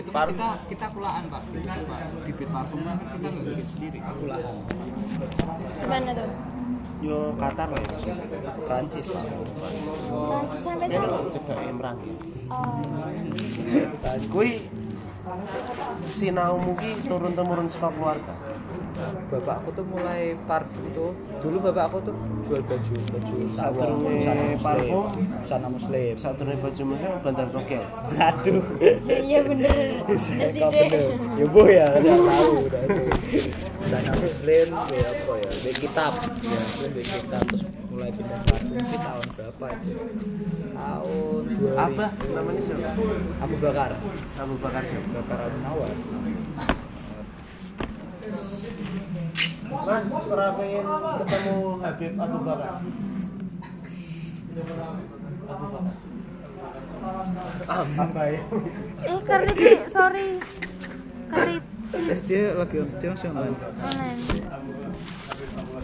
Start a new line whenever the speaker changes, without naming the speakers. itu kan kita kita kulaan pak gitu kan pak bibit parfumnya kan kita nggak bikin sendiri kulaan
Gimana tuh?
Yo Qatar lah ya, Prancis lah.
Prancis sampai
Ini
sana.
loh cedak Emrang.
Oh,
Kui sinaumu ki turun temurun saka keluarga.
bapakku tuh mulai parfum tuh dulu bapakku tuh jual baju baju
Saturunge parfum.
sana muslim
Saturne baju muslim Bandar Togel.
aduh
iya bener. Bener sih deh.
ya bu ya udah tahu udah tahu. sana muslim ya apa ya di kitab ya muslim di kitab terus mulai pindah parfum itu tahun berapa itu tahun
Apa namanya siapa?
Abu Bakar
Abu Bakar siapa?
Bakar Abu Nawar
Mas, pernah pengen ketemu Habib Abu Bakar? Abu Bakar. Apa ya?
Eh, Karlit nih, sorry. Karlit
Eh, dia lagi dia masih online
online.